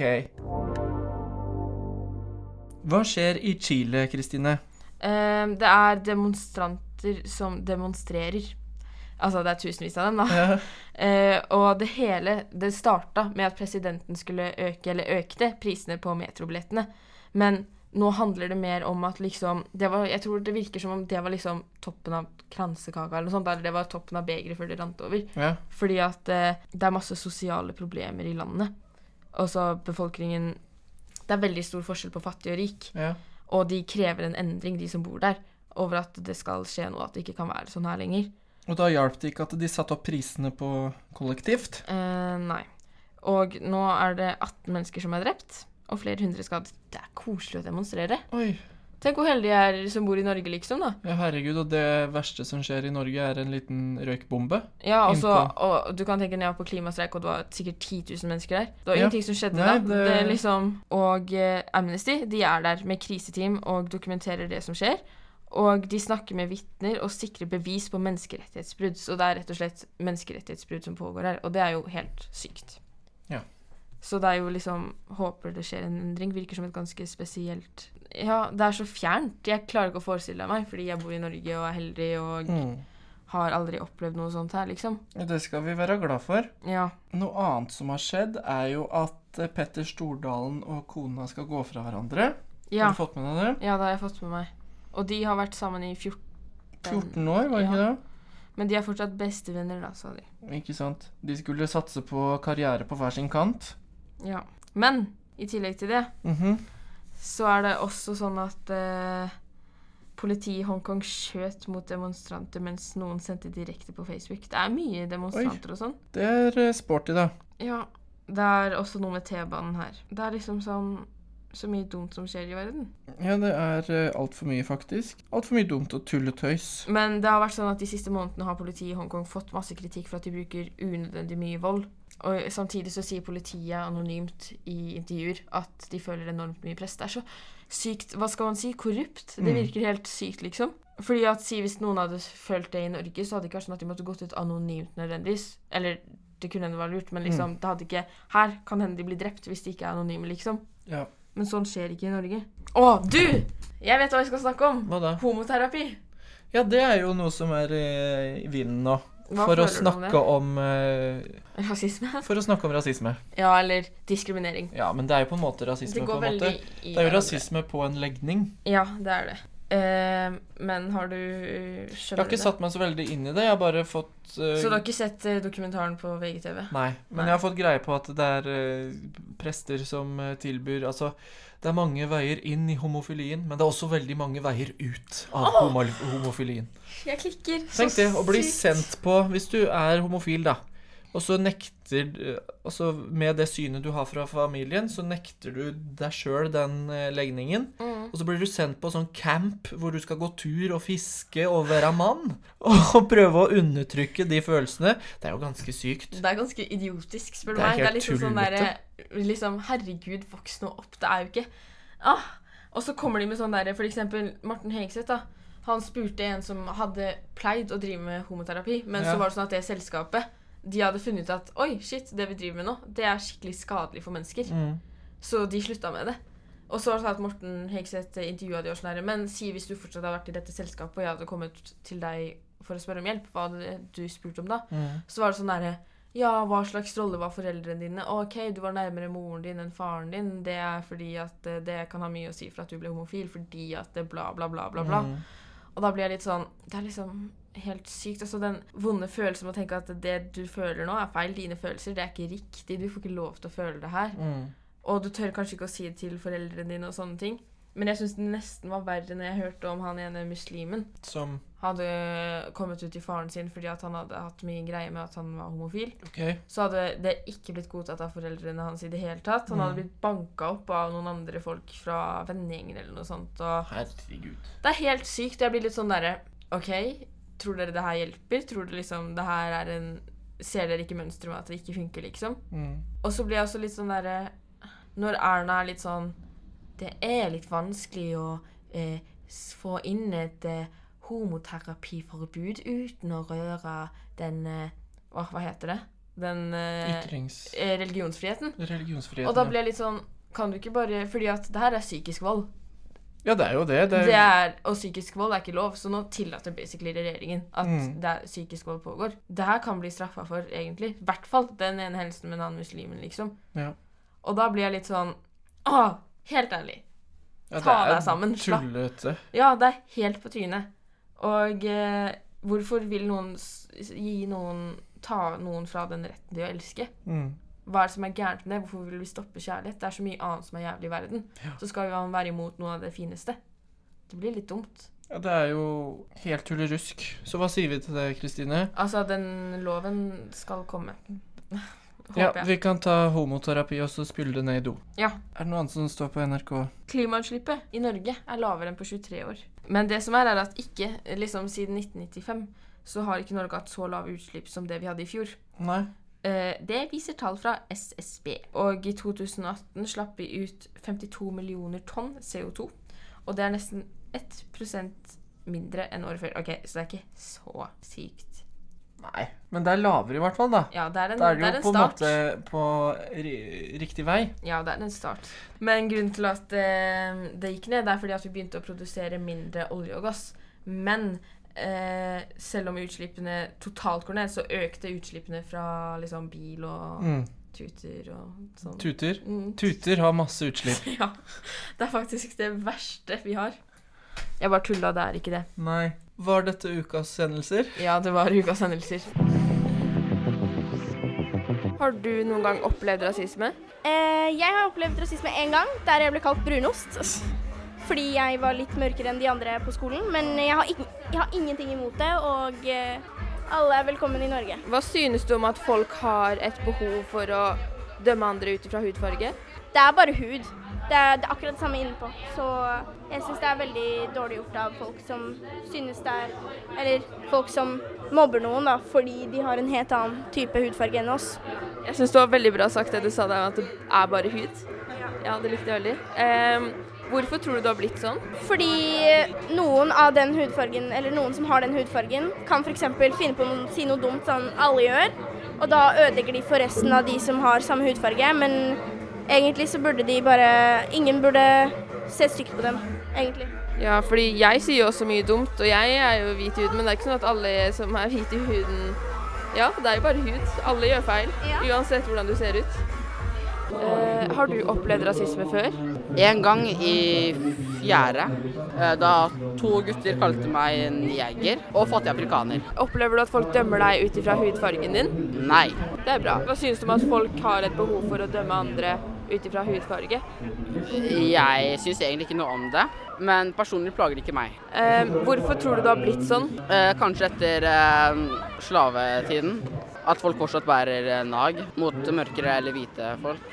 Speaker 2: Hva skjer i Chile, Kristine?
Speaker 3: Eh, det er demonstranter som demonstrerer. Altså, det er tusenvis av dem, da.
Speaker 2: Ja.
Speaker 3: Eh, og det hele det starta med at presidenten skulle øke eller økte prisene på metrobillettene. Men nå handler det mer om at liksom det var, Jeg tror det virker som om det var liksom toppen av kransekaka eller noe sånt. Eller det var toppen av begeret før det rant over.
Speaker 2: ja.
Speaker 3: Fordi at eh, det er masse sosiale problemer i landet. Og så befolkningen Det er veldig stor forskjell på fattig og rik.
Speaker 2: ja.
Speaker 3: Og de krever en endring, de som bor der, over at det skal skje noe, at det ikke kan være sånn her lenger.
Speaker 2: Og da hjalp det ikke at de satte opp prisene på kollektivt.
Speaker 3: Eh, nei. Og nå er det 18 mennesker som er drept, og flere hundre skadd. Det er koselig å demonstrere.
Speaker 2: Oi.
Speaker 3: Tenk hvor heldige jeg er som bor i Norge, liksom, da.
Speaker 2: Ja, herregud, og det verste som skjer i Norge, er en liten røykbombe.
Speaker 3: Ja, og så,
Speaker 2: Innpå.
Speaker 3: og du kan tenke når jeg var på klimastreik, og det var sikkert 10 000 mennesker der. Det var
Speaker 2: Ja.
Speaker 3: ingenting som skjedde
Speaker 2: Nei,
Speaker 3: da. Det...
Speaker 2: det-
Speaker 3: er liksom, og eh, Amnesty de er der med kriseteam og dokumenterer det som skjer. Og de snakker med vitner og sikrer bevis på menneskerettighetsbrudd. Så det er rett og slett menneskerettighetsbrudd som pågår her, og det er jo helt sykt.
Speaker 2: Ja.
Speaker 3: Så det er jo liksom Håper det skjer en endring. Virker som et ganske spesielt Ja, det er så fjernt. Jeg klarer ikke å forestille meg, fordi jeg bor i Norge og er heldig og
Speaker 2: Mm.
Speaker 3: har aldri opplevd noe sånt her, liksom.
Speaker 2: Og Det skal vi være glad for.
Speaker 3: Ja.
Speaker 2: Noe annet som har skjedd, er jo at eh, Petter Stordalen og kona skal gå fra hverandre.
Speaker 3: Ja.
Speaker 2: Har du fått med deg det?
Speaker 3: ja, det har jeg fått med meg. Og de har vært sammen i 14
Speaker 2: 14 år, var det ikke det?
Speaker 3: Men de er fortsatt bestevenner, da, sa de.
Speaker 2: Ikke sant. De skulle satse på karriere på hver sin kant.
Speaker 3: Ja. Men i tillegg til det
Speaker 2: Mhm.
Speaker 3: så er det også sånn at eh, politiet i Hongkong skjøt mot demonstranter mens noen sendte direkte på Facebook. Det er mye demonstranter og sånn.
Speaker 2: Det er eh, sporty, da.
Speaker 3: Ja. Det er også noe med T-banen her. Det er liksom sånn så mye dumt som skjer i verden.
Speaker 2: Ja, det er altfor mye, faktisk. Altfor mye dumt og tulletøys.
Speaker 3: Men det har vært sånn at de siste månedene har politiet i Hongkong fått masse kritikk for at de bruker unødvendig mye vold. Og samtidig så sier politiet anonymt i intervjuer at de føler enormt mye press. Det er så sykt Hva skal man si? Korrupt? Det
Speaker 2: Mm.
Speaker 3: virker helt sykt, liksom. Fordi at si Hvis noen hadde følt det i Norge, så hadde det ikke vært sånn at de måtte gått ut anonymt nødvendigvis. Eller det kunne hende det var lurt, men liksom, det hadde ikke Her kan hende de blir drept hvis de ikke er anonyme, liksom.
Speaker 2: Ja.
Speaker 3: Men sånn skjer ikke i Norge. Å, du! Jeg vet hva vi skal snakke om.
Speaker 2: Hva da?
Speaker 3: Homoterapi.
Speaker 2: Ja, det er jo noe som er eh, i vinden nå.
Speaker 3: Hva
Speaker 2: for å
Speaker 3: føler du om det?
Speaker 2: snakke om, eh,
Speaker 3: Rasisme.
Speaker 2: For å snakke om rasisme.
Speaker 3: Ja, eller diskriminering.
Speaker 2: Ja, men det er jo på en måte rasisme.
Speaker 3: Det
Speaker 2: på
Speaker 3: går
Speaker 2: en
Speaker 3: veldig i
Speaker 2: måte. Det er jo
Speaker 3: hverandre.
Speaker 2: rasisme på en legning.
Speaker 3: Ja, det er det. Eh, men har du
Speaker 2: Jeg har
Speaker 3: Skjønner du
Speaker 2: ikke
Speaker 3: det?
Speaker 2: satt meg så veldig inn i det. Jeg har bare fått eh,
Speaker 3: Så du har ikke sett eh, dokumentaren på VGTV?
Speaker 2: Nei, men
Speaker 3: Nei.
Speaker 2: jeg har fått greie på at det er eh, prester som eh, tilbyr Altså, det er mange veier inn i homofilien, men det er også veldig mange veier ut av homo homofilien.
Speaker 3: Jeg klikker. så
Speaker 2: Tenk det, å bli
Speaker 3: sykt.
Speaker 2: sendt på Hvis du er homofil, da, og så nekter eh, Altså, med det synet du har fra familien, så nekter du deg sjøl den eh, legningen.
Speaker 3: Mm.
Speaker 2: Og så blir du sendt på sånn camp hvor du skal gå tur og fiske og være mann. Og prøve å undertrykke de følelsene. Det er jo ganske sykt.
Speaker 3: Det er ganske idiotisk, spør du
Speaker 2: Det er
Speaker 3: meg. Det er
Speaker 2: helt
Speaker 3: liksom sånn
Speaker 2: tullete.
Speaker 3: derre liksom, Herregud, voks nå opp. Det er jo ikke ah. Og så kommer de med sånn derre For eksempel Morten Hegseth, da. Han spurte en som hadde pleid å drive med homoterapi, men
Speaker 2: Ja.
Speaker 3: så var det sånn at det selskapet de hadde funnet ut at oi, shit, det vi driver med nå, det er skikkelig skadelig for mennesker.
Speaker 2: Mm.
Speaker 3: Så de slutta med det. Og så var det sånn at Morten Hegseth intervjua de og sånn her, men si hvis du fortsatt hadde vært i dette selskapet, og jeg hadde kommet til deg for å spørre om hjelp, hva hadde du spurt om da?
Speaker 2: Mm.
Speaker 3: Så var det sånn derre Ja, hva slags rolle var foreldrene dine? OK, du var nærmere moren din enn faren din. Det er fordi at eh, det kan ha mye å si for at du ble homofil, fordi at det bla, bla, bla, bla, bla.
Speaker 2: Mm.
Speaker 3: Og da blir jeg litt sånn Det er liksom helt sykt. Altså den vonde følelsen med å tenke at det du føler nå, er feil. Dine følelser, det er ikke riktig. Du får ikke lov til å føle det her.
Speaker 2: Mm.
Speaker 3: Og du tør kanskje ikke å si det til foreldrene dine og sånne ting. Men jeg syns det nesten var verre når jeg hørte om han ene muslimen
Speaker 2: Som
Speaker 3: hadde kommet ut til faren sin fordi at han hadde hatt mye greie med at han var homofil.
Speaker 2: OK.
Speaker 3: Så hadde det ikke blitt godtatt av foreldrene hans i det hele tatt. Han hadde blitt banka opp av noen andre folk fra vennegjengen eller noe sånt. Og
Speaker 2: Herregud.
Speaker 3: det er helt sykt. Jeg blir litt sånn derre OK, tror dere det her hjelper? Tror dere liksom det her er en Ser dere ikke mønsteret med at det ikke funker, liksom?
Speaker 2: Mm.
Speaker 3: Og så blir jeg også litt sånn derre Når Erna er litt sånn Det er litt vanskelig å eh, s- få inn et eh, homoterapiforbud uten å røre den eh, hva, hva heter det? Den eh,
Speaker 2: Ytrings...
Speaker 3: eh, religionsfriheten.
Speaker 2: Religionsfriheten.
Speaker 3: Og da ble jeg litt sånn Kan du ikke bare Fordi at det her er psykisk vold.
Speaker 2: ja. ja, det er jo det. Det er,
Speaker 3: Det er, og psykisk vold er ikke lov, så nå tillater basically regjeringen at
Speaker 2: Mm.
Speaker 3: det er psykisk vold pågår. Det her kan bli straffa for, egentlig. I hvert fall den ene helsen med den andre muslimen, liksom.
Speaker 2: ja.
Speaker 3: Og da blir jeg litt sånn Å, helt ærlig.
Speaker 2: Ja, det
Speaker 3: Ta
Speaker 2: er
Speaker 3: deg sammen, slapp.
Speaker 2: Tullete.
Speaker 3: Ja, det er helt på trynet. Og eh, hvorfor vil noen s- gi noen Ta noen fra den retten til å elske?
Speaker 2: Mm.
Speaker 3: Hva er det som er gærent med det? Hvorfor vil vi stoppe kjærlighet? Det er så mye annet som er jævlig i verden. Så skal jo han være imot noe av det fineste. Det blir litt dumt.
Speaker 2: Ja, det er jo helt tullerusk. Så hva sier vi til det, Kristine?
Speaker 3: Altså, den loven skal komme.
Speaker 2: Ja,
Speaker 3: Håper jeg.
Speaker 2: vi kan ta homoterapi og så spylle det ned i do.
Speaker 3: Ja.
Speaker 2: Er det noe annet som står på NRK?
Speaker 3: Klimautslippet i Norge er lavere enn på 23 år. Men det som er, er at ikke liksom siden 1995 så har ikke Norge hatt så lave utslipp som det vi hadde i fjor.
Speaker 2: Nei?
Speaker 3: Eh, Det viser tall fra SSB. Og i 2018 slapp vi ut 52 millioner tonn CO2. Og det er nesten 1 mindre enn året før. Ok, Så det er ikke så sykt.
Speaker 2: Nei. Men det er lavere i hvert fall, da.
Speaker 3: Ja, det er en,
Speaker 2: Da er det
Speaker 3: det er
Speaker 2: jo
Speaker 3: en
Speaker 2: på en
Speaker 3: start.
Speaker 2: måte på ri- riktig vei.
Speaker 3: Ja, det er en start. Men grunnen til at eh, det gikk ned, det er fordi at vi begynte å produsere mindre olje og gass. Men eh, selv om utslippene totalt går ned, så økte utslippene fra liksom bil og
Speaker 2: Mm.
Speaker 3: tuter og sånn.
Speaker 2: Tuter.
Speaker 3: Mm.
Speaker 2: Tuter har masse utslipp.
Speaker 3: Ja. Det er faktisk det verste vi har. Jeg bare tulla, det er ikke det.
Speaker 2: Nei. Var dette ukas hendelser?
Speaker 3: Ja, det var ukas hendelser. Har du noen gang opplevd rasisme?
Speaker 4: Eh, jeg har opplevd rasisme én gang, der jeg ble kalt brunost. Fordi jeg var litt mørkere enn de andre på skolen. Men jeg har, ikke, jeg har ingenting imot det, og eh, alle er velkommen i Norge.
Speaker 5: Hva synes du om at folk har et behov for å dømme andre ut fra hudfarge?
Speaker 4: Det er bare hud. Det er, det er akkurat det samme innenpå. Så jeg syns det er veldig dårlig gjort av folk som synes det er Eller folk som mobber noen da, fordi de har en helt annen type hudfarge enn oss.
Speaker 5: Jeg synes det var veldig bra sagt det du sa der, at det er bare hud. Ja, det likte jeg veldig. Ehm, hvorfor tror du det har blitt sånn?
Speaker 4: Fordi noen av den hudfargen, eller noen som har den hudfargen, kan f.eks. finne på å si noe dumt sånn alle gjør, og da ødelegger de for resten av de som har samme hudfarge, men egentlig så burde de bare Ingen burde se stygt på dem, egentlig.
Speaker 5: Ja, fordi jeg sier jo også mye dumt, og jeg er jo hvit i huden, men det er ikke sånn at alle som er hvite i huden Ja, det er jo bare hud. Alle gjør feil,
Speaker 4: Ja.
Speaker 5: uansett hvordan du ser ut. Eh, har du opplevd rasisme før?
Speaker 6: En gang i fjerde, eh, da to gutter kalte meg en jeger og fattig afrikaner.
Speaker 5: Opplever du at folk dømmer deg ut ifra hudfargen din?
Speaker 6: Nei.
Speaker 5: Det er bra. Hva synes du om at folk har et behov for å dømme andre ut ifra hudfarge?
Speaker 6: Jeg syns egentlig ikke noe om det, men personlig plager det ikke meg.
Speaker 5: Eh, hvorfor tror du det har blitt sånn?
Speaker 6: Eh, Kanskje etter eh, slavetiden. At folk fortsatt bærer eh, nag mot mørkere eller hvite folk.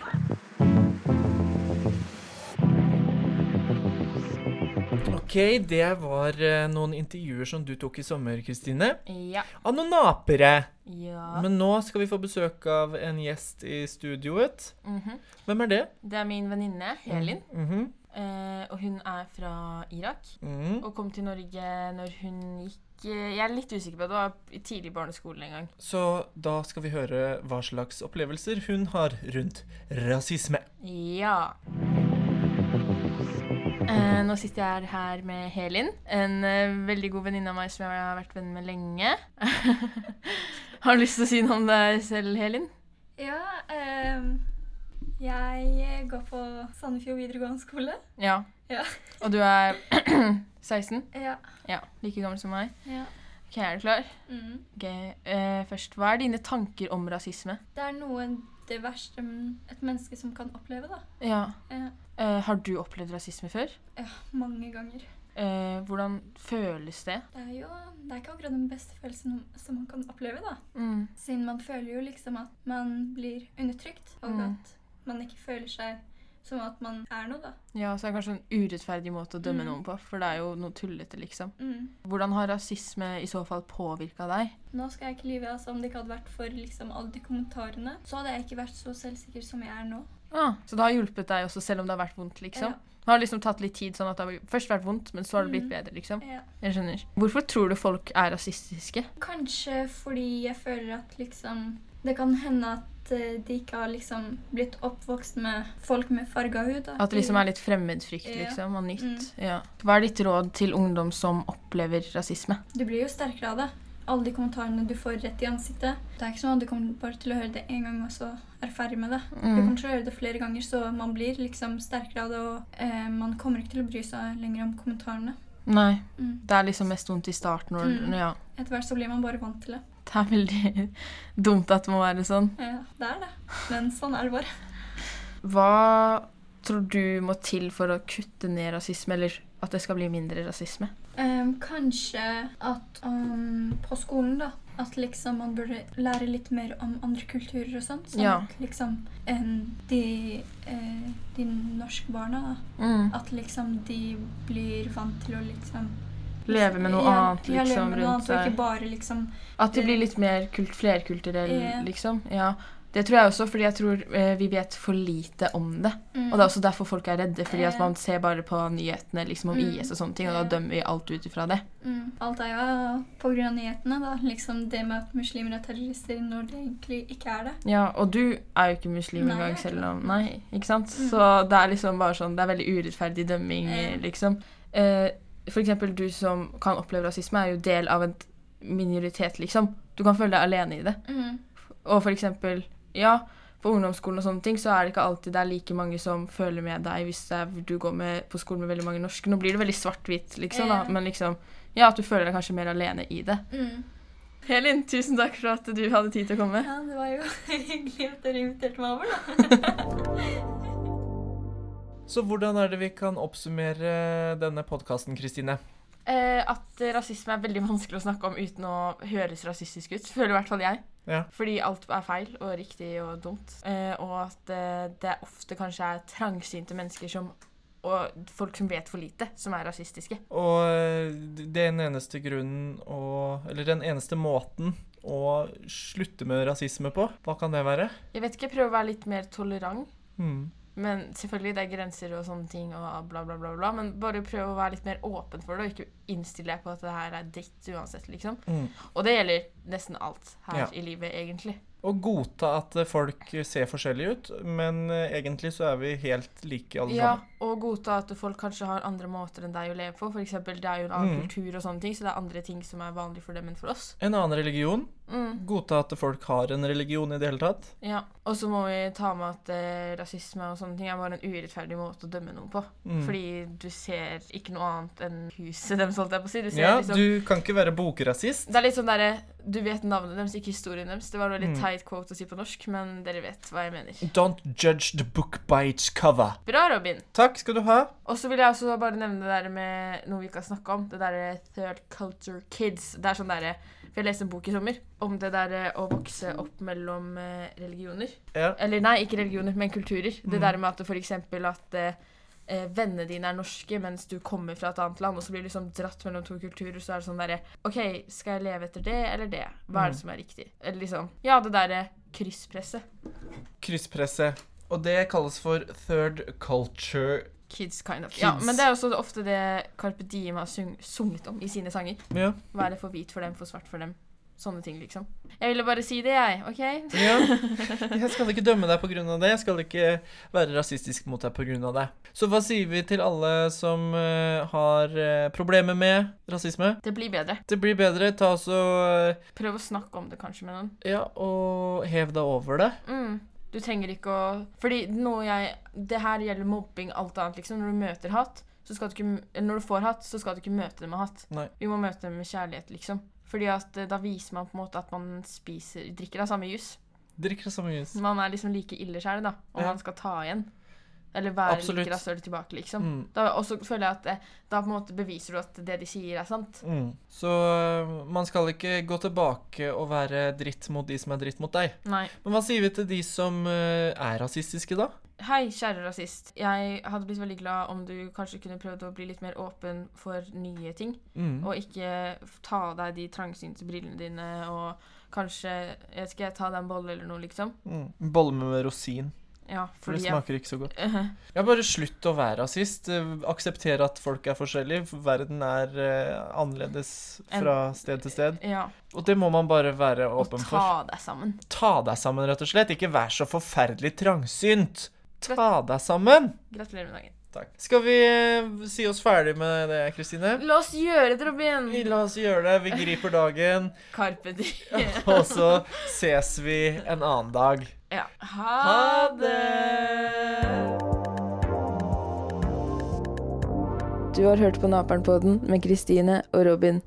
Speaker 2: Ok, det var eh, noen intervjuer som du tok i sommer, Kristine.
Speaker 3: Ja.
Speaker 2: Av noen napere.
Speaker 3: ja.
Speaker 2: Men nå skal vi få besøk av en gjest i studioet.
Speaker 3: Mhm.
Speaker 2: Hvem er det?
Speaker 3: Det er min venninne Helin,
Speaker 2: Mhm.
Speaker 3: eh, og hun er fra Irak.
Speaker 2: Mhm.
Speaker 3: Og kom til Norge når hun gikk eh, Jeg er litt usikker på det, det var i tidlig barneskolen en gang.
Speaker 2: Så da skal vi høre hva slags opplevelser hun har rundt rasisme.
Speaker 3: Ja. Eh, nå sitter jeg her med Helin, en eh, veldig god venninne av meg som jeg har vært venn med lenge. har du lyst til å si noe om deg selv, Helin?
Speaker 7: Ja, ehm, jeg går på Sandefjord videregående skole.
Speaker 3: Ja.
Speaker 7: Ja.
Speaker 3: Og du er 16?
Speaker 7: Ja.
Speaker 3: Ja, like gammel som meg.
Speaker 7: Ja.
Speaker 3: Ok, Er du klar?
Speaker 7: Mm.
Speaker 3: Ok, eh, først, Hva er dine tanker om rasisme?
Speaker 7: Det er noe det verste mm, et menneske som kan oppleve, da.
Speaker 3: Ja.
Speaker 7: Ja.
Speaker 3: Eh, har du opplevd rasisme før?
Speaker 7: Ja, mange ganger.
Speaker 3: Eh, hvordan føles det?
Speaker 7: Det er jo det er ikke akkurat den beste følelsen som man kan oppleve, da.
Speaker 3: Mm.
Speaker 7: Siden man føler jo liksom at man blir undertrykt, og
Speaker 3: Mm.
Speaker 7: at man ikke føler seg som at man er noe, da.
Speaker 1: Ja, så er det kanskje en urettferdig måte å dømme
Speaker 7: Mm.
Speaker 1: noen på, for det er jo noe tullete, liksom.
Speaker 7: Mm.
Speaker 1: Hvordan har rasisme i så fall påvirka deg?
Speaker 7: Nå skal jeg ikke lyve, altså, om det ikke hadde vært for liksom, alle de kommentarene, så hadde jeg ikke vært så selvsikker som jeg er nå.
Speaker 1: Ah, så det har hjulpet deg også, selv om det har vært vondt, liksom?
Speaker 7: Ja.
Speaker 1: Det har liksom tatt litt tid, sånn at det har først vært vondt, men så har det blitt
Speaker 7: Mm.
Speaker 1: bedre, liksom?
Speaker 7: Ja.
Speaker 1: Jeg skjønner. Hvorfor tror du folk er rasistiske?
Speaker 7: Kanskje fordi jeg føler at liksom Det kan hende at eh, de ikke har liksom blitt oppvokst med folk med farga hud. Da.
Speaker 1: At det liksom er litt fremmedfrykt,
Speaker 7: Ja.
Speaker 1: liksom, og nytt?
Speaker 7: Mm.
Speaker 1: Ja. Hva er ditt råd til ungdom som opplever rasisme?
Speaker 7: Du blir jo sterkere av det. Alle de kommentarene du får rett i ansiktet. Det er ikke sånn at du kommer bare til å høre det én gang, og så er du ferdig med det. Du
Speaker 1: Mm.
Speaker 7: kommer til å høre det flere ganger, så man blir liksom sterkere av det, og eh, man kommer ikke til å bry seg lenger om kommentarene.
Speaker 1: Nei.
Speaker 7: Mm.
Speaker 1: Det er liksom mest vondt i starten. Når,
Speaker 7: Mm.
Speaker 1: ja.
Speaker 7: Etter hvert så blir man bare vant til det.
Speaker 1: Det er veldig dumt at det må være sånn.
Speaker 7: Eh, det er det. Men sånn er det bare.
Speaker 1: Hva tror du må til for å kutte ned rasisme, eller at det skal bli mindre rasisme?
Speaker 7: Ehm, kanskje at um, på skolen, da. At liksom man burde lære litt mer om andre kulturer og sånt. Sånn
Speaker 1: Ja.
Speaker 7: at liksom em, de, eh, de norske barna, da. At liksom de blir vant til å liksom
Speaker 1: Leve med noe
Speaker 7: Ja,
Speaker 1: annet
Speaker 7: ja, leve
Speaker 1: liksom
Speaker 7: med noe
Speaker 1: rundt
Speaker 7: annet, og
Speaker 1: seg.
Speaker 7: ikke bare liksom
Speaker 1: At det blir litt mer kult, flerkulturell,
Speaker 7: Ja.
Speaker 1: liksom. Ja. Det tror jeg også, fordi jeg tror eh, vi vet for lite om det.
Speaker 7: mm,
Speaker 1: Og det er også derfor folk er redde, fordi at
Speaker 7: Ja.
Speaker 1: man ser bare på nyhetene liksom om
Speaker 7: Mm.
Speaker 1: IS og sånne ting, og da
Speaker 7: Ja.
Speaker 1: dømmer vi alt ut ifra det.
Speaker 7: mm, Alt er jo på grunn av nyhetene, da. Liksom det med at muslimer er terrorister når de egentlig ikke er det.
Speaker 1: Ja, og du er jo ikke muslim
Speaker 7: Nei,
Speaker 1: engang,
Speaker 7: jeg er
Speaker 1: selv
Speaker 7: ikke
Speaker 1: om Nei, ikke sant?
Speaker 7: Mm.
Speaker 1: Så det er liksom bare sånn Det er veldig urettferdig dømming,
Speaker 7: Ja.
Speaker 1: liksom. Eh, for eksempel du som kan oppleve rasisme, er jo del av en minoritet, liksom. Du kan føle deg alene i det. Og for eksempel Ja, på ungdomsskolen og sånne ting, så er det ikke alltid det er like mange som føler med deg hvis det er, du går med, på skolen med veldig mange norske. Nå blir det veldig svart-hvitt, liksom,
Speaker 7: Ja.
Speaker 1: da, men liksom Ja, at du føler deg kanskje mer alene i det.
Speaker 7: Mm.
Speaker 1: Helin, tusen takk for at du hadde tid til å komme.
Speaker 7: Ja, det var jo hyggelig at dere inviterte meg over, da.
Speaker 2: Så hvordan er det vi kan oppsummere denne podkasten, Kristine?
Speaker 1: Eh, at rasisme er veldig vanskelig å snakke om uten å høres rasistisk ut. Føler i hvert fall jeg.
Speaker 2: Ja.
Speaker 1: Fordi alt er feil og riktig og dumt. Eh, og at eh, det ofte kanskje er trangsynte mennesker som og folk som vet for lite, som er rasistiske.
Speaker 2: Og eh, den eneste grunnen å Eller den eneste måten å slutte med rasisme på, hva kan det være?
Speaker 1: Jeg vet ikke, prøv å være litt mer tolerant.
Speaker 2: Hmm.
Speaker 1: Men selvfølgelig, det er grenser og sånne ting og bla, bla, bla. bla Men bare prøv å være litt mer åpen for det, og ikke innstille deg på at det her er dritt uansett, liksom.
Speaker 2: Mm.
Speaker 1: Og det gjelder nesten alt her
Speaker 2: Ja.
Speaker 1: i livet, egentlig.
Speaker 2: Å godta at eh, folk ser forskjellige ut, men eh, egentlig så er vi helt like alle
Speaker 1: Ja,
Speaker 2: sammen.
Speaker 1: og godta at folk kanskje har andre måter enn deg å leve på. For eksempel, det er jo en annen
Speaker 2: Mm.
Speaker 1: kultur og sånne ting, så det er andre ting som er vanlig for dem enn for oss.
Speaker 2: En annen religion.
Speaker 1: Mm,
Speaker 2: Godta at folk har en religion i det hele tatt.
Speaker 1: ja. Og så må vi ta med at eh, rasisme og sånne ting er bare en urettferdig måte å dømme noen på.
Speaker 2: Mm.
Speaker 1: Fordi du ser ikke noe annet enn huset deres, holdt jeg på å si. Du ser
Speaker 2: Ja,
Speaker 1: liksom
Speaker 2: du kan ikke være bokrasist.
Speaker 1: Det er litt sånn derre Du vet navnet deres, ikke historien deres. Det var en veldig
Speaker 2: Mm.
Speaker 1: teit quote å si på norsk, men dere vet hva jeg mener.
Speaker 2: Don't judge the book by its cover.
Speaker 1: Bra, Robin.
Speaker 2: Takk skal du ha.
Speaker 1: Og så vil jeg også bare nevne det der med noe vi ikke har snakka om. Det derre Third Culture Kids. Det er sånn derre For jeg leste en bok i sommer om det derre å vokse opp mellom eh, religioner.
Speaker 2: Ja.
Speaker 1: Eller nei, ikke religioner, men kulturer.
Speaker 2: Mm.
Speaker 1: Det der med at f.eks. at eh, eh, Vennene dine er norske mens du kommer fra et annet land, og så blir du liksom dratt mellom to kulturer. Så er det sånn derre OK, skal jeg leve etter det eller det? Hva
Speaker 2: Mm.
Speaker 1: er det som er riktig? Eller liksom Ja, det derre krysspresset.
Speaker 2: Krysspresset. Og det kalles for third culture.
Speaker 1: Kids, kind of. Ja,
Speaker 2: Kids.
Speaker 1: men det er jo også ofte det Carpe Diem har sung sunget om i sine sanger.
Speaker 2: Ja.
Speaker 1: Være for hvit for dem, for svart for dem. Sånne ting, liksom. Jeg ville bare si det, jeg. OK?
Speaker 2: ja. Jeg skal ikke dømme deg pga. det. Jeg skal ikke være rasistisk mot deg pga. det. Så hva sier vi til alle som eh, har eh, problemer med rasisme?
Speaker 1: Det blir bedre.
Speaker 2: Det blir bedre. Ta så
Speaker 1: Prøv å snakke om det kanskje med noen.
Speaker 2: Ja, og hev deg over det.
Speaker 1: Mm. Du trenger ikke å Fordi noe jeg Det her gjelder mobbing, alt annet, liksom. Når du møter hat, så skal du ikke eller Når du får hat, så skal du ikke møte det med hat.
Speaker 2: Nei.
Speaker 1: Vi må møte det med kjærlighet, liksom. Fordi at eh, da viser man på en måte at man spiser Drikker av samme jus. Mm.
Speaker 2: Drikk det samme jus.
Speaker 1: Man er liksom like ille sjæl, da. Og
Speaker 2: Ja.
Speaker 1: man skal ta igjen. Eller være
Speaker 2: Absolutt.
Speaker 1: like rasshøl tilbake, liksom.
Speaker 2: Mm.
Speaker 1: Da, og så føler jeg at eh, da på en måte beviser du at det de sier, er sant.
Speaker 2: Mm. Så øh, man skal ikke gå tilbake og være dritt mot de som er dritt mot deg.
Speaker 1: Nei.
Speaker 2: Men hva sier vi til de som øh, er rasistiske, da?
Speaker 1: Hei, kjære rasist. Jeg hadde blitt veldig glad om du kanskje kunne prøvd å bli litt mer åpen for nye ting.
Speaker 2: Mm.
Speaker 1: Og ikke f- ta av deg de trangsynte brillene dine og kanskje jeg vet ikke, ta deg en bolle eller noe, liksom.
Speaker 2: Mm. Bolle med rosin,
Speaker 1: Ja, Uh-huh.
Speaker 2: for det
Speaker 1: fordi jeg
Speaker 2: smaker ikke så godt. Ja, bare slutt å være rasist. Eh, Akseptere at folk er forskjellige. for Verden er eh, annerledes fra sted til sted.
Speaker 1: Ja.
Speaker 2: Og det må man bare være
Speaker 1: Og
Speaker 2: åpen
Speaker 1: ta
Speaker 2: for.
Speaker 1: deg sammen.
Speaker 2: Ta deg sammen, rett og slett. Ikke vær så forferdelig trangsynt. Ta deg sammen!
Speaker 1: Gratulerer med dagen.
Speaker 2: Takk. Skal vi eh, si oss ferdig med det, Kristine?
Speaker 1: La oss gjøre det,
Speaker 2: Vi-
Speaker 1: Robin!
Speaker 2: La oss gjøre det. Vi griper dagen,
Speaker 1: Carpe diem.
Speaker 2: og så ses vi en annen dag.
Speaker 1: Ja.
Speaker 2: Ha
Speaker 1: Ha det!
Speaker 8: Du har hørt på Naperen-podden med Kristine og Robin.